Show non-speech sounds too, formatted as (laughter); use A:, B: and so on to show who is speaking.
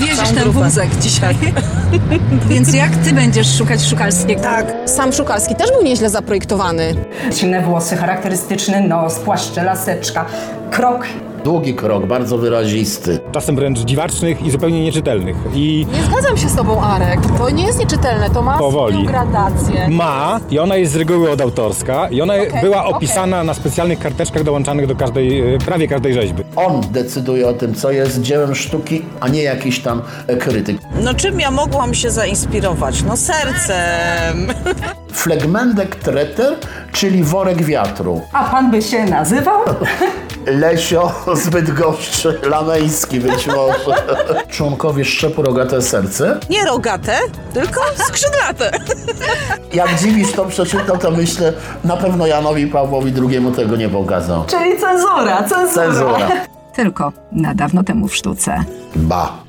A: Wieziesz
B: Całą
A: ten
B: grupę.
A: wózek dzisiaj. (laughs) Więc jak ty będziesz szukać szukalskiego?
B: Tak.
C: Sam Szukalski też był nieźle zaprojektowany.
B: Ciemne włosy, charakterystyczny nos, płaszcze, laseczka, krok.
D: Długi krok, bardzo wyrazisty.
E: czasem wręcz dziwacznych i zupełnie nieczytelnych. I
C: Nie zgadzam się z tobą, Arek. To nie jest nieczytelne, to ma
E: Powoli.
C: swoją gradację.
E: ma, i ona jest z reguły od autorska, i ona była opisana na specjalnych karteczkach dołączanych do każdej, e, prawie każdej rzeźby.
D: On decyduje o tym, co jest dziełem sztuki, a nie jakiś tam e, krytyk.
F: No czym ja mogłam się zainspirować? No sercem.
D: Flegmendek treter, czyli worek wiatru.
B: A pan by się nazywał?
D: Lesio (laughs) z Bydgoszczy, Lameński być może. (laughs) Członkowie szczepu Rogate Serce.
F: Nie rogate, tylko skrzydlate.
D: Jak dziwisz to przeczytał, to myślę, na pewno Janowi Pawłowi II tego nie pokazał.
B: Czyli cenzura, cenzura.
D: Cenzura.
A: Tylko na dawno temu w sztuce.
D: Ba.